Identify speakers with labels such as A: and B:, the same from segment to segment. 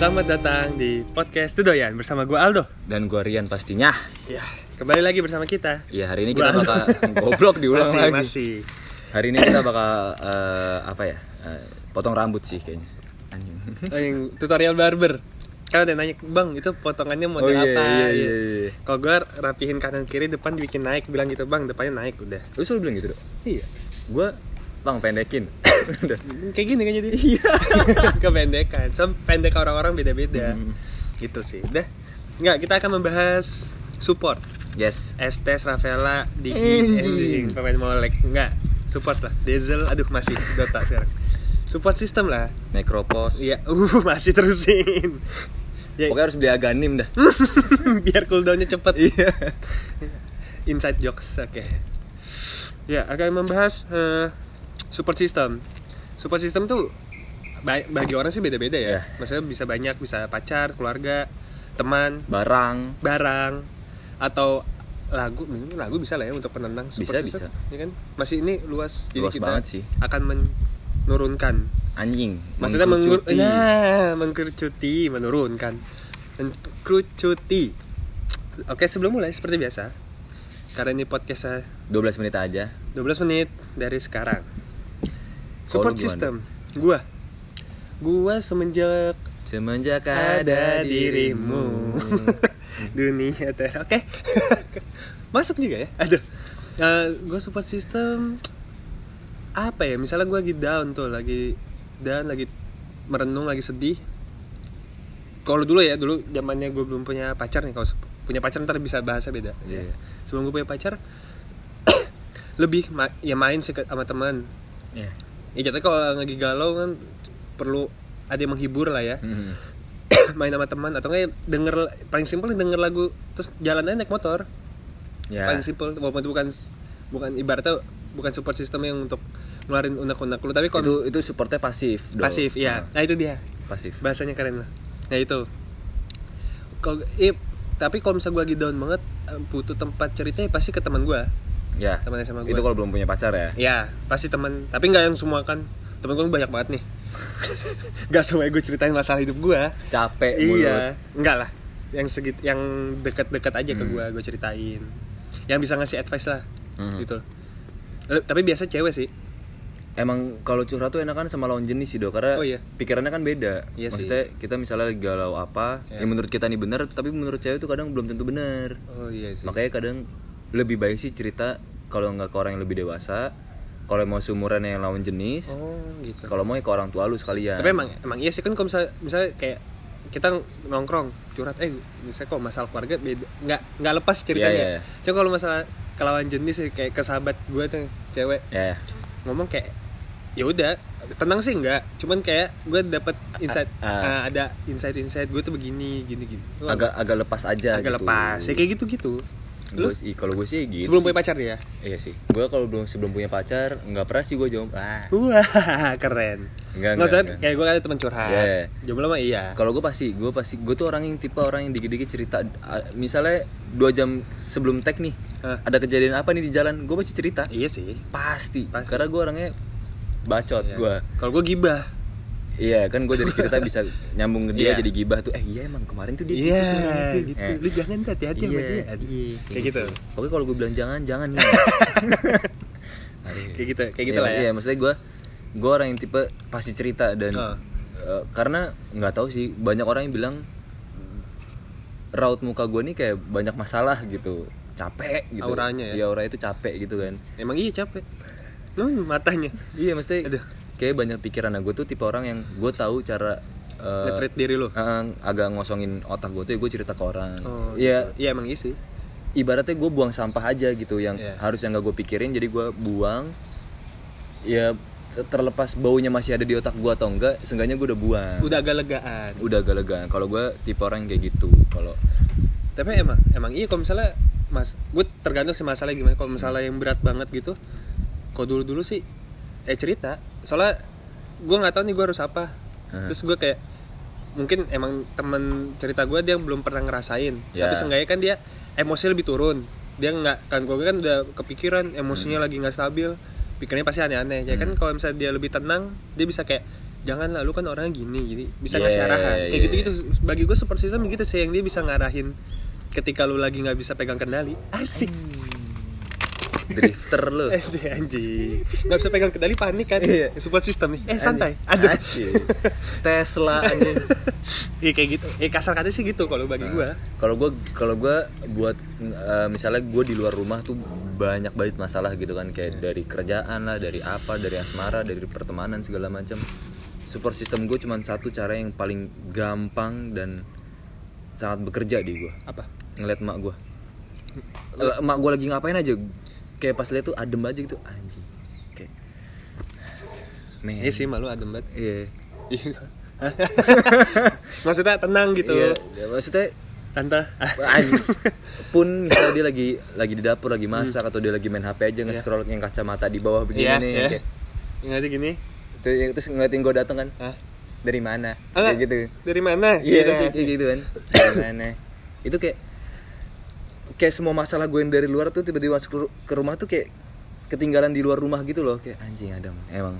A: Selamat datang di podcast Tudoyan bersama gue Aldo.
B: dan gua Rian pastinya.
A: Ya, kembali lagi bersama kita.
B: Ya hari ini kita
A: Gua Aldo.
B: bakal goblok diulang
A: masih,
B: lagi.
A: Masih.
B: Hari ini kita bakal eh, apa ya? eh, potong rambut sih kayaknya. Anjing.
A: Oh, yang tutorial barber. Kan ada yang nanya, "Bang, itu potongannya model
B: Oh, iya,
A: apa?" Gitu.
B: iya, iya, iya.
A: Kalau gue rapihin kanan kiri, depan dibikin naik, bilang gitu, "Bang, depannya naik udah."
B: Lu selalu bilang gitu, Dok.
A: Iya.
B: Gua bang pendekin. Udah.
A: Kayak gini kan jadi. Iya. Kependekan. So, pendek orang-orang beda-beda.
B: Hmm.
A: Gitu sih. Udah. Enggak, kita akan membahas support.
B: yes.
A: Estes, Rafaela, Diki,
B: Anjing.
A: anjing, pemain molek enggak support lah Diesel aduh masih Dota sekarang support sistem lah
B: Necropos.
A: iya uh masih terusin ya,
B: Pokoknya harus beli aganim dah.
A: biar cooldownnya cepet iya inside jokes oke ya akan membahas eh, support system support system tuh ba- bagi orang sih beda-beda ya
B: Iya.
A: maksudnya bisa banyak bisa pacar keluarga teman
B: Barang.
A: barang atau lagu mungkin lagu bisa lah ya untuk penenang support
B: Bisa,
A: system,
B: bisa.
A: ya kan masih ini luas jadi
B: Luas
A: kita
B: banget sih.
A: akan menurunkan
B: Anjing. Iya.
A: maksudnya mengur
B: Mengkerucuti.
A: nah mengkerucuti menurunkan mengkerucuti oke sebelum mulai seperti biasa karena ini podcast saya
B: 12 menit aja.
A: 12 menit dari sekarang
B: Kalau
A: support
B: lu gimana?
A: system gua gua semenjak
B: Semenjak
A: ada dirimu dunia ter oke masuk juga ya aduh gue support system apa ya misalnya gue lagi down tuh lagi down lagi merenung lagi sedih kalau dulu ya dulu zamannya gue belum punya pacar nih kalau se- punya pacar ntar bisa bahasa beda Ya.
B: Iya.
A: sebelum gue punya pacar lebih ma- ya main sih ke- sama teman
B: Iya.
A: ya jatuhnya kalau lagi galau kan perlu ada yang menghibur lah ya
B: Hmm.
A: main sama teman atau enggak ya denger paling simpel denger lagu terus jalan aja naik motor
B: Ya.
A: paling simpel walaupun itu bukan bukan ibaratnya bukan support system yang untuk ngeluarin unek-unek lu tapi
B: Itu
A: kalau
B: itu supportnya pasif. Dok.
A: pasif ya
B: Nah,
A: nah itu dia
B: pasif.
A: bahasanya keren lah nah itu kalau eh, tapi kalau misalnya gue lagi down banget eh, butuh tempat cerita ya pasti ke teman gue
B: Ya.
A: Temennya sama gua.
B: Itu kalau belum punya pacar ya.
A: ya pasti teman tapi nggak yang semua kan temen gue banyak banget nih Gak semuanya gue ceritain masalah hidup gue
B: Capek
A: iya
B: mulut.
A: enggak lah yang segit yang dekat-dekat aja ke
B: Hmm.
A: gua gue ceritain yang bisa ngasih advice lah
B: Hmm.
A: gitu Lalu- tapi biasa cewek sih
B: Emang kalau curhat tuh enakan sama lawan jenis sih dok karena
A: Oh, iya.
B: pikirannya kan beda.
A: Iya sih.
B: Maksudnya kita misalnya lagi galau apa,
A: Iya.
B: yang menurut kita nih benar, tapi menurut cewek itu kadang belum tentu benar.
A: oh iya sih
B: Makanya kadang lebih baik sih cerita kalau nggak ke orang yang lebih dewasa, kalau mau seumuran yang lawan jenis,
A: oh gitu
B: kalau mau ya ke orang tua lu sekalian.
A: tapi emang emang iya sih kan kalau misalnya, misalnya kayak kita nongkrong curhat eh misalnya kalau masalah keluarga beda nggak nggak lepas ceritanya
B: Iya, iya, iya.
A: cuma kalau masalah ke lawan jenis sih, kayak ke sahabat gue tuh cewek
B: Ya,
A: ngomong kayak ya udah tenang sih enggak cuman kayak gue dapet insight
B: Ah.
A: ah, ada insight insight gue tuh begini gini gini Wah,
B: agak agak lepas aja.
A: agak
B: gitu.
A: lepas ya kayak gitu gitu lu
B: Gua sih- kalau gue sih gitu.
A: sebelum
B: sih.
A: punya pacar ya
B: Iya sih. Gue kalau belum sebelum punya pacar nggak pernah sih gue jomblo. Ah.
A: wah keren nggak
B: Enggak, enggak,
A: usah
B: enggak.
A: kayak gue ada teman curhat
B: Iya, iya.
A: jomblo mah iya
B: Kalau gue pasti, gue pasti, gue tuh orang yang tipe orang yang dikit-dikit cerita. Ah, Misalnya dua jam sebelum tag nih,
A: Hah?
B: ada kejadian apa nih di jalan, gue pasti cerita.
A: iya sih
B: Pasti.
A: Pasti.
B: Karena gue orangnya bacot
A: Iya.
B: gue.
A: kalau gue gibah
B: Iya kan gue dari cerita bisa nyambung ke dia
A: Iya.
B: jadi gibah tuh. Eh iya emang kemarin tuh dia.
A: iya
B: gitu,
A: gitu
B: Eh.
A: lu jangan tuh, hati-hati sama
B: Iya.
A: dia iya kayak gitu
B: Oke kalau gue bilang jangan, jangan ya. Aduh.
A: kayak gitu kayak gitu
B: Iya,
A: lah ya
B: Iya, maksudnya gue gue orang yang tipe pasti cerita dan
A: Ah.
B: eh, karena nggak tahu sih banyak orang yang bilang raut muka gue nih kayak banyak masalah gitu capek gitu
A: Auranya ya?
B: Iya, aura itu capek gitu kan
A: emang iya capek Hmm, matanya
B: iya mesti
A: Aduh.
B: kayak banyak pikiran nah gue tuh tipe orang yang gue tahu cara eh,
A: Nge-treat diri lo
B: eh, agak ngosongin otak gue tuh ya gue cerita ke orang
A: Oh,
B: iya
A: gitu. iya emang iya sih
B: ibaratnya gue buang sampah aja gitu yang
A: Iya.
B: harus yang gak gue pikirin jadi gue buang ya ter- terlepas baunya masih ada di otak gue atau enggak seenggaknya gue udah buang
A: udah agak legaan
B: udah agak legaan kalau gue tipe orang yang kayak gitu kalau
A: tapi emang emang iya kalau misalnya mas gue tergantung sih masalah gimana kalau misalnya yang berat banget gitu kalau dulu dulu sih eh cerita soalnya gue nggak tahu nih gue harus apa
B: Hmm.
A: terus gue kayak mungkin emang temen cerita gue dia belum pernah ngerasain
B: Ya.
A: tapi seenggaknya kan dia emosinya lebih turun dia nggak kan gue kan udah kepikiran emosinya lagi nggak stabil pikirannya pasti aneh-aneh ya kan kalau misalnya dia lebih tenang dia bisa kayak jangan lah lu kan orangnya gini jadi bisa
B: Yeah,
A: ngasih arahan kayak
B: yeah.
A: gitu gitu bagi gue support system gitu sih yang dia bisa ngarahin ketika lu lagi nggak bisa pegang kendali asik
B: drifter lu
A: eh deh anjing nggak bisa pegang kendali panik kan
B: Iya.
A: support system nih eh santai aduh
B: Asik. Tesla anjing
A: Iya kayak gitu eh kasar katanya sih gitu kalau
B: Nah.
A: bagi gue
B: kalau gue kalau gue buat eh, misalnya gue di luar rumah tuh banyak banget masalah gitu kan
A: Iya.
B: kayak dari kerjaan lah dari apa dari asmara dari pertemanan segala macam support system gue cuman satu cara yang paling gampang dan sangat bekerja di gue
A: apa
B: ngeliat emak gue emak gue lagi ngapain aja kayak pas lihat tuh adem aja gitu anjing kayak men
A: iya sih malu adem banget
B: iya
A: Iya. maksudnya tenang gitu
B: Iya, ya, maksudnya
A: tante ah,
B: Anj- pun misalnya dia lagi lagi di dapur lagi masak atau dia lagi main HP aja nge-scroll yang kacamata di bawah begini
A: Hmm. iya
B: nih
A: iya
B: kayak,
A: Yang nanti gini
B: tuh, ya, terus ngeliatin gue dateng kan
A: ah
B: dari mana
A: Enggak.
B: kayak gitu
A: dari mana Gitu.
B: iya terus kayak gitu kan dari mana itu kayak kayak semua masalah gue yang dari luar tuh tiba-tiba masuk ke ru- ke rumah tuh kayak ketinggalan di luar rumah gitu loh kayak anjing Adam emang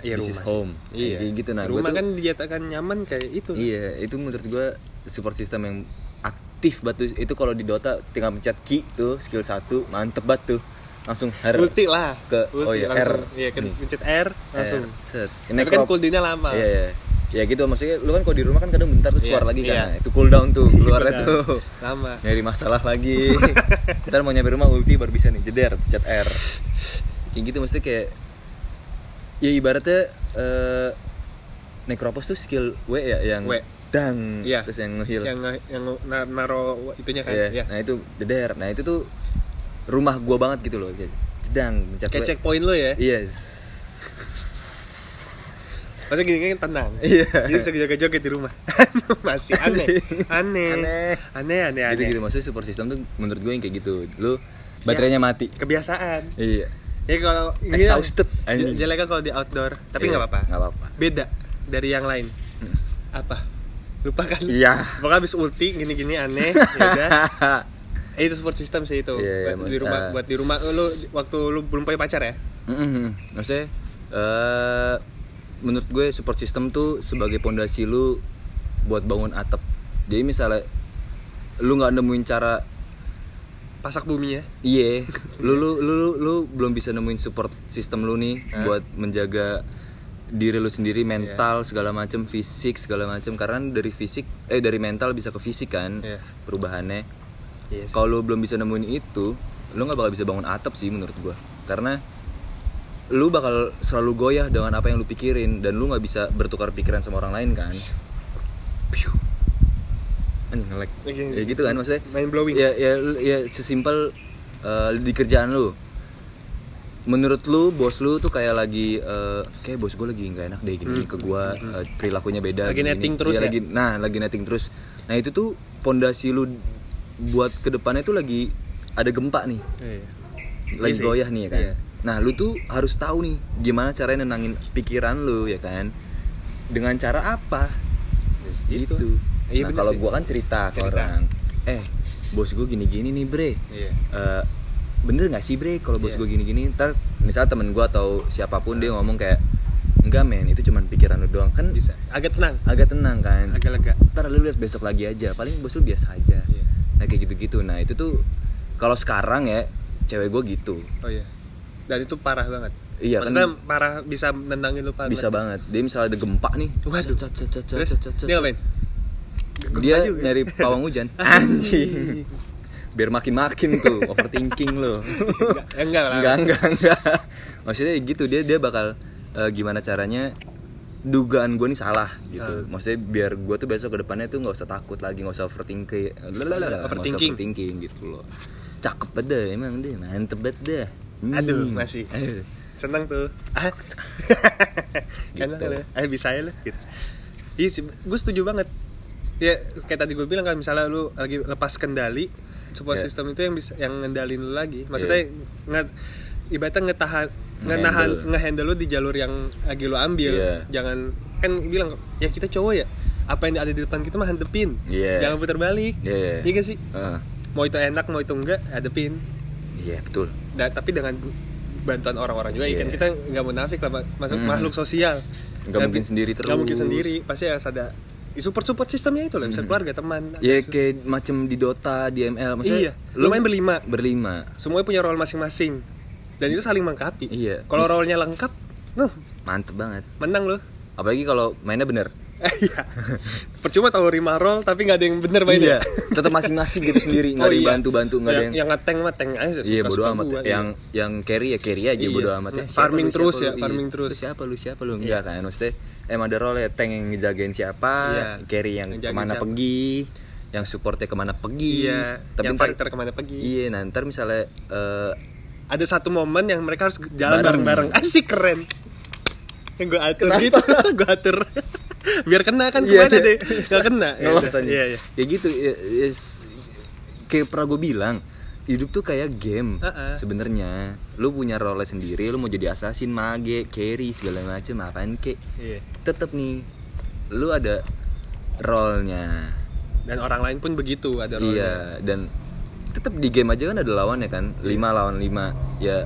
A: Iya,
B: This is
A: rumah
B: home.
A: sih.
B: Kayak
A: Iya.
B: gitu. Nah, gua
A: rumah
B: tuh-
A: kan dinyatakan nyaman kayak itu.
B: Iya, itu menurut gue support system yang aktif batu itu kalau di Dota tinggal pencet Q tuh skill 1 mantep banget tuh. Langsung her.
A: Ulti lah.
B: Ke-
A: Ulti
B: oh iya,
A: langsung.
B: R.
A: Iya, kan
B: Nih.
A: pencet R langsung.
B: R, set.
A: Tapi kan cooldownnya lama.
B: Iya, iya. Ya gitu maksudnya lu kan kalau di rumah kan kadang bentar terus
A: Iya,
B: keluar lagi kan.
A: iya.
B: Nah, itu cooldown tuh keluarnya
A: Benar.
B: tuh.
A: Lama.
B: Nyari masalah lagi. Ntar mau nyampe rumah ulti baru bisa nih jeder pencet R. Kayak gitu maksudnya kayak ya ibaratnya eh Necropos tuh skill W ya yang
A: W.
B: dang
A: Iya.
B: terus yang ngeheal.
A: Yang nge- yang nge- na- naro itunya kan.
B: Iya,
A: Iya.
B: Nah itu deder. Nah itu tuh rumah gua banget gitu loh. Kayak Sedang mencet Iya.
A: Kayak
B: gue.
A: checkpoint lu ya.
B: Yes.
A: Maksudnya gini kan tenang.
B: Iya.
A: Jadi bisa joget-joget di rumah. Masih aneh. Aneh.
B: Aneh.
A: Aneh aneh aneh.
B: Gitu gitu maksudnya support system tuh menurut gue yang kayak gitu.
A: Iya.
B: Lu baterainya mati.
A: Kebiasaan.
B: Iya.
A: Ya kalau
B: Exhausted,
A: Iya.
B: anjing.
A: Jeleknya kalau di outdoor, tapi
B: Iya,
A: nggak apa-apa.
B: nggak apa-apa. Hmm.
A: Beda dari yang lain. Apa? Lupa kan?
B: Iya.
A: Pokoknya habis ulti gini-gini aneh, ya udah. Eh, itu support system sih itu.
B: Iya, iya,
A: buat di
B: mas-
A: rumah
B: ah.
A: buat di rumah lu waktu lu belum punya pacar ya?
B: Mm-mm. Maksudnya eh menurut gue support system tuh sebagai pondasi lu buat bangun atap. Jadi misalnya lu nggak nemuin cara
A: Pasak bumi ya.
B: Iya, lu, lu lu lu lu belum bisa nemuin support sistem lu nih
A: Hah? Iya.
B: buat menjaga diri lu sendiri mental segala macem fisik segala macem karena dari fisik eh dari mental bisa ke fisik kan
A: Iya.
B: perubahannya
A: Iya. sih.
B: kalau lu belum bisa nemuin itu lu nggak bakal bisa bangun atap sih menurut gua karena lu bakal selalu goyah dengan apa yang lu pikirin dan lu nggak bisa bertukar pikiran sama orang lain kan
A: Piu.
B: anjing nge-lag.
A: Iya,
B: ya gitu kan maksudnya
A: Mind blowing.
B: ya ya lu- ya sesimpel uh, di kerjaan lu menurut lu bos lu tuh kayak lagi uh, kayak bos gue lagi nggak enak deh gini ke gua uh, perilakunya beda
A: Hmm, Lagi
B: gini,
A: netting
B: gini.
A: terus
B: Iya,
A: ya?
B: lagi nah lagi netting terus nah itu tuh pondasi lu buat kedepannya tuh lagi ada gempa nih
A: Iya.
B: lagi
A: Iya sih.
B: goyah nih ya kan.
A: Iya.
B: Nah, lu tuh harus tahu nih gimana caranya nenangin pikiran lu ya kan. Dengan cara apa?
A: Gitu.
B: Gitu.
A: Iya,
B: nah,
A: bener
B: kalau
A: sih.
B: gua kan cerita ke
A: Cerita.
B: orang. Eh, bos gua gini-gini nih, Bre.
A: Iya.
B: Eh, bener nggak sih Bre kalau bos
A: Iya.
B: gua gini-gini ntar misal temen gua atau siapapun dia ngomong kayak enggak men itu cuman pikiran lu doang kan
A: Bisa. Agak tenang,
B: agak tenang kan
A: agak lega.
B: ntar lu lihat besok lagi aja paling bos lu biasa aja
A: Iya.
B: nah kayak gitu-gitu nah itu tuh kalau sekarang ya cewek gua gitu
A: Oh iya. Dan itu parah banget.
B: Iya, kan-
A: Maksudnya parah bisa nendangin lu parah.
B: bisa banget dia misalnya ada gempa nih
A: Waduh.
B: Cet, cet, cet, cet,
A: Terus
B: cet, cet,
A: dia
B: cet.
A: ngapain? Gempa
B: dia
A: juga. ya?
B: nyari pawang hujan anjing biar makin makin tuh overthinking lo
A: Enggak, enggak lah.
B: enggak enggak enggak maksudnya gitu dia dia bakal eh, gimana caranya dugaan gue nih
A: Ah.
B: salah gitu maksudnya biar gue tuh besok ke depannya tuh nggak usah takut lagi nggak usah overthinking Lalalala, nggak usah
A: Overthinking.
B: overthinking gitu loh cakep banget dah, emang deh mantep banget dah. Hmm. Eh,
A: Aduh, masih.
B: Aduh.
A: seneng tuh ah enak
B: Gitu.
A: lu eh bisa ya lu gitu iya sih gue setuju banget ya kayak tadi gue bilang kan misalnya lu lagi lepas kendali support
B: Iya.
A: system itu yang bisa yang ngendalin lu lagi maksudnya
B: Iya.
A: nge, ibaratnya ngetahan ngenahan
B: Ngehandle.
A: ngehandle lu di jalur yang lagi lu ambil
B: Iya.
A: jangan kan bilang ya kita cowok ya apa yang ada di depan kita mah hadepin
B: Iya.
A: jangan putar balik
B: Iya.
A: iya gak sih
B: Ah,
A: mau itu enak mau itu enggak hadepin
B: iya betul
A: Da- tapi dengan bantuan orang-orang juga ya kan
B: Iya.
A: kita nggak munafik lah Pak. masuk
B: Mm.
A: makhluk sosial
B: Nggak mungkin sendiri terus.
A: Gak mungkin sendiri, pasti harus ada support support sistemnya itu loh, bisa keluarga teman.
B: Ya
A: ada su-
B: kayak macem di Dota, di ML
A: Iya,
B: maksudnya.
A: lu main berlima.
B: Berlima.
A: Semuanya punya role masing-masing dan itu saling melengkapi.
B: Iya.
A: Kalau role-nya lengkap, nuh
B: Mantep banget.
A: menang loh.
B: Apalagi kalau mainnya bener.
A: Iya. Percuma tahu lima role tapi nggak ada yang bener mainnya. Oh,
B: Tetap Iya. masing-masing gitu sendiri, nggak ada yang bantu-bantu, nggak ada
A: iya. yang
B: yang
A: yang ngeteng mah tank aja.
B: Iya bodo
A: suka-suka
B: amat.
A: gua, gitu.
B: yang yang carry ya carry aja
A: Iya.
B: bodo amat ya.
A: Nah, farming
B: lu,
A: terus
B: lu?
A: ya,
B: Iya.
A: farming
B: Lu
A: terus.
B: siapa lu siapa lu enggak kan maksudnya emang ada role ya tank yang ngejagain siapa,
A: Iya.
B: carry yang
A: Ngejagain
B: kemana
A: siapa.
B: pergi, yang supportnya kemana pergi.
A: Iya, yang
B: ntar-
A: fighter kemana pergi.
B: Iya, nah, ntar misalnya eh,
A: ada satu momen yang mereka harus jalan
B: Bareng.
A: bareng-bareng asik keren yang gue atur gitu gue atur biar kena kan
B: Iya,
A: kemana
B: iya.
A: deh nggak kena Ya
B: ngelos
A: udah.
B: aja.
A: iya iya
B: Ya gitu, ya, ya, s- kayak pernah gue bilang hidup tuh kayak game
A: Heeh.
B: sebenarnya lu punya role sendiri lu mau jadi assassin mage carry segala macem apaan kek
A: Iya.
B: tetap nih lu ada role-nya.
A: dan orang lain pun begitu ada role
B: Iya, dan tetap di game aja kan ada lawannya kan. 5
A: Iya.
B: lawan 5. Ya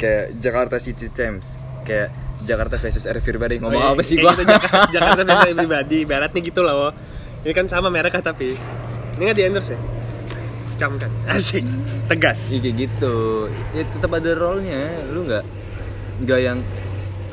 B: kayak Jakarta City Times, kayak Jakarta versus RV Bading.
A: Oh,
B: Ngomong
A: iya,
B: apa sih gua?
A: gitu, Jakarta, Jakarta biasa pribadi baratnya gitu loh ini kan sama mereka tapi ini nggak di endorse ya cam kan asik tegas
B: Iya kayak gitu. Ya tetap ada role-nya. Lu nggak nggak yang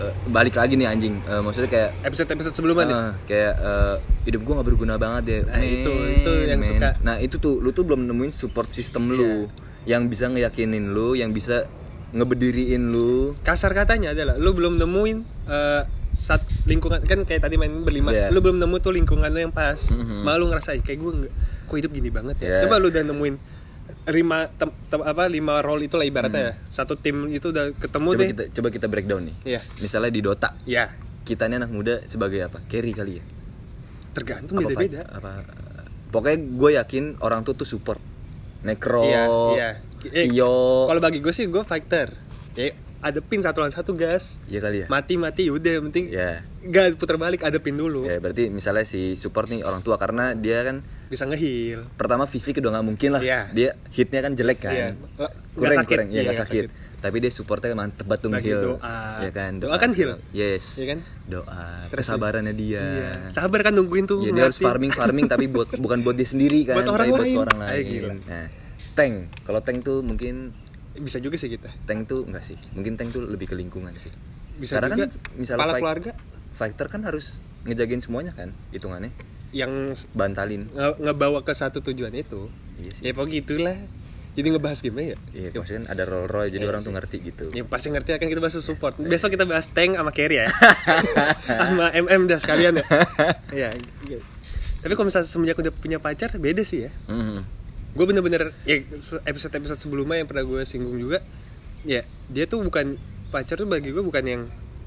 B: eh, balik lagi nih anjing. Eh, maksudnya kayak
A: episode episode sebelumnya nih
B: Ah, kayak eh, hidup gua nggak berguna banget ya.
A: Nah, itu- itu yang suka. Iya.
B: Nah itu tuh lu tuh belum nemuin support system lu yang bisa ngeyakinin lu, yang bisa ngebediriin lu.
A: kasar katanya adalah lu belum nemuin eh, saat lingkungan kan kayak tadi main berlima
B: Iya.
A: lu belum nemu tuh lingkungan lu yang pas
B: Mhm.
A: malah lu ngerasain kayak gue nggak kok hidup gini banget ya
B: Iya.
A: coba lu udah nemuin lima tem- tem- apa lima role itu lah ibaratnya ya satu tim itu udah ketemu
B: Mm-hmm.
A: deh
B: Coba kita coba kita breakdown nih.
A: Iya.
B: Misalnya di Dota,
A: ya
B: kita ini anak muda sebagai apa? Carry kali ya.
A: tergantung
B: Apa
A: beda beda
B: fight? Apa? Pokoknya gue yakin orang tuh tuh support. Necro,
A: Iya, iya. Eh,
B: Iyo,
A: kalau bagi gue sih gue fighter ya ada pin satu lawan satu gas
B: iya kali ya.
A: mati mati udah yang penting
B: Ya,
A: gak putar balik ada pin dulu
B: ya berarti misalnya si support nih orang tua karena dia kan
A: bisa ngehil
B: pertama fisik udah nggak mungkin lah
A: Iya.
B: dia hitnya kan jelek kan
A: Iya. Nggak
B: kurang
A: sakit.
B: kurang
A: Iya,
B: ya nggak
A: nggak
B: sakit.
A: sakit.
B: tapi dia supportnya kan mantep banget tuh
A: Bagi
B: nge-heal.
A: doa.
B: ya kan
A: Doa kan heal.
B: yes
A: Iya kan?
B: doa
A: Stress
B: kesabarannya dia
A: Iya. Sabar kan nungguin tuh.
B: Ya, dia harus
A: ngeliatin.
B: farming farming tapi buat bukan buat dia sendiri kan
A: Buat orang
B: tapi buat
A: lain.
B: orang
A: Ay,
B: lain
A: gila.
B: nah tank kalau tank tuh mungkin
A: Bisa juga sih kita.
B: tank tuh enggak sih mungkin tank tuh lebih ke lingkungan sih
A: Bisa
B: karena
A: juga
B: kan misalnya
A: kepala
B: fight-
A: keluarga.
B: fighter kan harus ngejagain semuanya kan hitungannya
A: yang
B: bantalin
A: nge- ngebawa ke satu tujuan itu.
B: iya sih
A: Ya pokoknya gitulah. Jadi ngebahas game ya.
B: Iya, maksudnya kan ada role role
A: Iya
B: jadi orang tuh ngerti gitu.
A: Ya pasti ngerti akan kita bahas support. Besok kita bahas tank sama carry ya. sama MM dah sekalian ya. Iya. iya. Tapi kalau misalnya semenjak udah punya pacar beda sih ya.
B: Mhm.
A: Gue bener-bener ya episode-episode sebelumnya yang pernah gue singgung juga. Ya, dia tuh bukan pacar tuh bagi gue bukan yang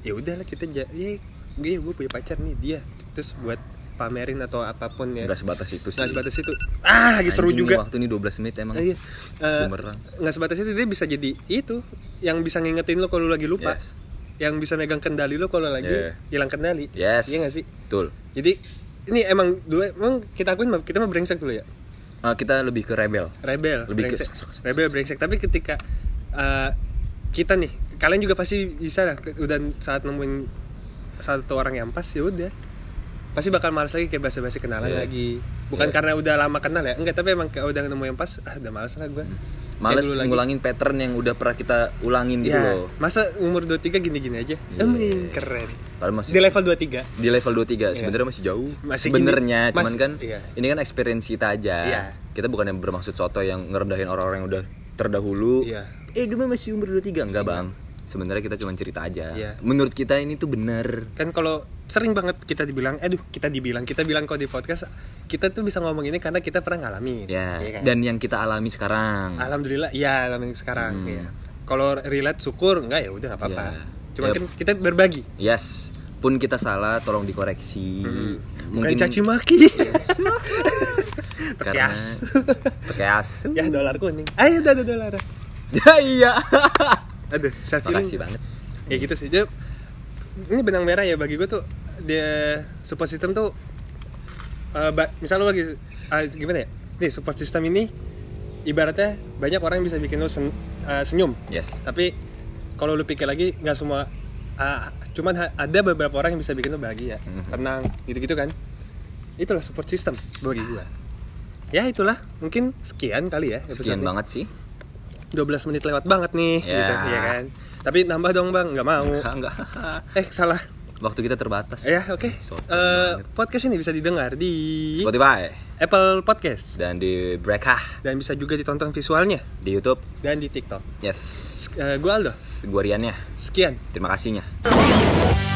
A: ya udahlah kita ja- ya gue gue punya pacar nih dia terus buat pamerin atau apapun ya.
B: Nggak sebatas itu sih.
A: nggak sebatas itu ah lagi seru
B: Anjing,
A: juga
B: nih Waktu ini 12 menit emang.
A: Ah, iya. Eh,
B: Bumerang.
A: nggak sebatas itu dia bisa jadi itu yang bisa ngingetin lo kalau lo lagi lupa
B: Yes.
A: yang bisa megang kendali lo kalau lagi
B: Yeah.
A: hilang kendali
B: Yes.
A: iya nggak sih
B: Betul.
A: jadi ini emang dua emang kita akuin kita mah brengsek dulu ya
B: Ah, kita lebih ke rebel.
A: rebel
B: Lebih ke
A: brengsek.
B: sok, sok, sok,
A: rebel brengsek tapi ketika eh, kita nih kalian juga pasti bisa lah ke- udah saat nemuin satu orang yang pas ya udah pasti bakal males lagi kayak basa-basi kenalan
B: Iya.
A: lagi bukan
B: Iya.
A: karena udah lama kenal ya enggak tapi emang kayak udah nemu yang pas ah udah males lah gue
B: Males ngulangin pattern yang udah pernah kita ulangin gitu loh.
A: ya masa umur 23 gini-gini aja
B: Iya.
A: Emin, keren
B: Padahal masih
A: di level 23
B: di level 23 sebenarnya masih jauh.
A: Iya. Masih
B: sebenarnya
A: gini, mas-
B: cuman kan
A: iya.
B: ini kan experience kita aja.
A: Iya.
B: Kita bukan yang bermaksud soto yang ngerendahin orang-orang yang udah terdahulu.
A: Iya.
B: Eh, dia mah masih umur 23 enggak, Bang. Sebenarnya kita cuma cerita aja.
A: Iya.
B: Menurut kita ini tuh bener
A: kan kalau sering banget kita dibilang aduh kita dibilang kita bilang kok di podcast kita tuh bisa ngomong ini karena kita pernah ngalamin
B: Ya,
A: Iya kan?
B: dan yang kita alami sekarang.
A: Alhamdulillah, ya alhamdulillah sekarang.
B: Hmm.
A: ya. Kalau relate syukur, enggak ya udah nggak apa-apa.
B: Ya.
A: Cuma
B: Ya.
A: kan kita berbagi.
B: Yes, pun kita salah, tolong dikoreksi.
A: Hmm. Bukan caci maki.
B: Iya. karena
A: Tekias.
B: tekias.
A: ya dolar kuning. Ayo udah ada dolar.
B: ya iya.
A: Aduh, saya
B: Makasih
A: feeling.
B: banget.
A: Ya gitu sih. Jadi, ini benang merah ya bagi gue tuh dia support system tuh eh, ba- misal lu lagi ah, gimana ya? Nih support system ini ibaratnya banyak orang yang bisa bikin lu sen- eh, senyum.
B: Yes.
A: Tapi kalau lu pikir lagi nggak semua ah, cuman ha- ada beberapa orang yang bisa bikin lo bahagia
B: Mhm.
A: tenang gitu-gitu kan itulah support system bagi gua ya itulah mungkin sekian kali ya
B: Sekian
A: episode-nya.
B: banget sih.
A: 12 menit lewat banget nih
B: Ya.
A: gitu ya kan tapi nambah dong bang nggak mau
B: Enggak, enggak.
A: eh salah
B: Waktu kita terbatas.
A: ya oke
B: Sombong
A: Eh, iya.
B: banget.
A: podcast ini bisa didengar di
B: Spotify
A: Apple Podcast
B: dan di Brekah
A: dan bisa juga ditonton visualnya
B: di YouTube.
A: dan di TikTok
B: Yes.
A: Eh, gua Aldo
B: Gua ya. Riannya.
A: sekian
B: Terima kasihnya.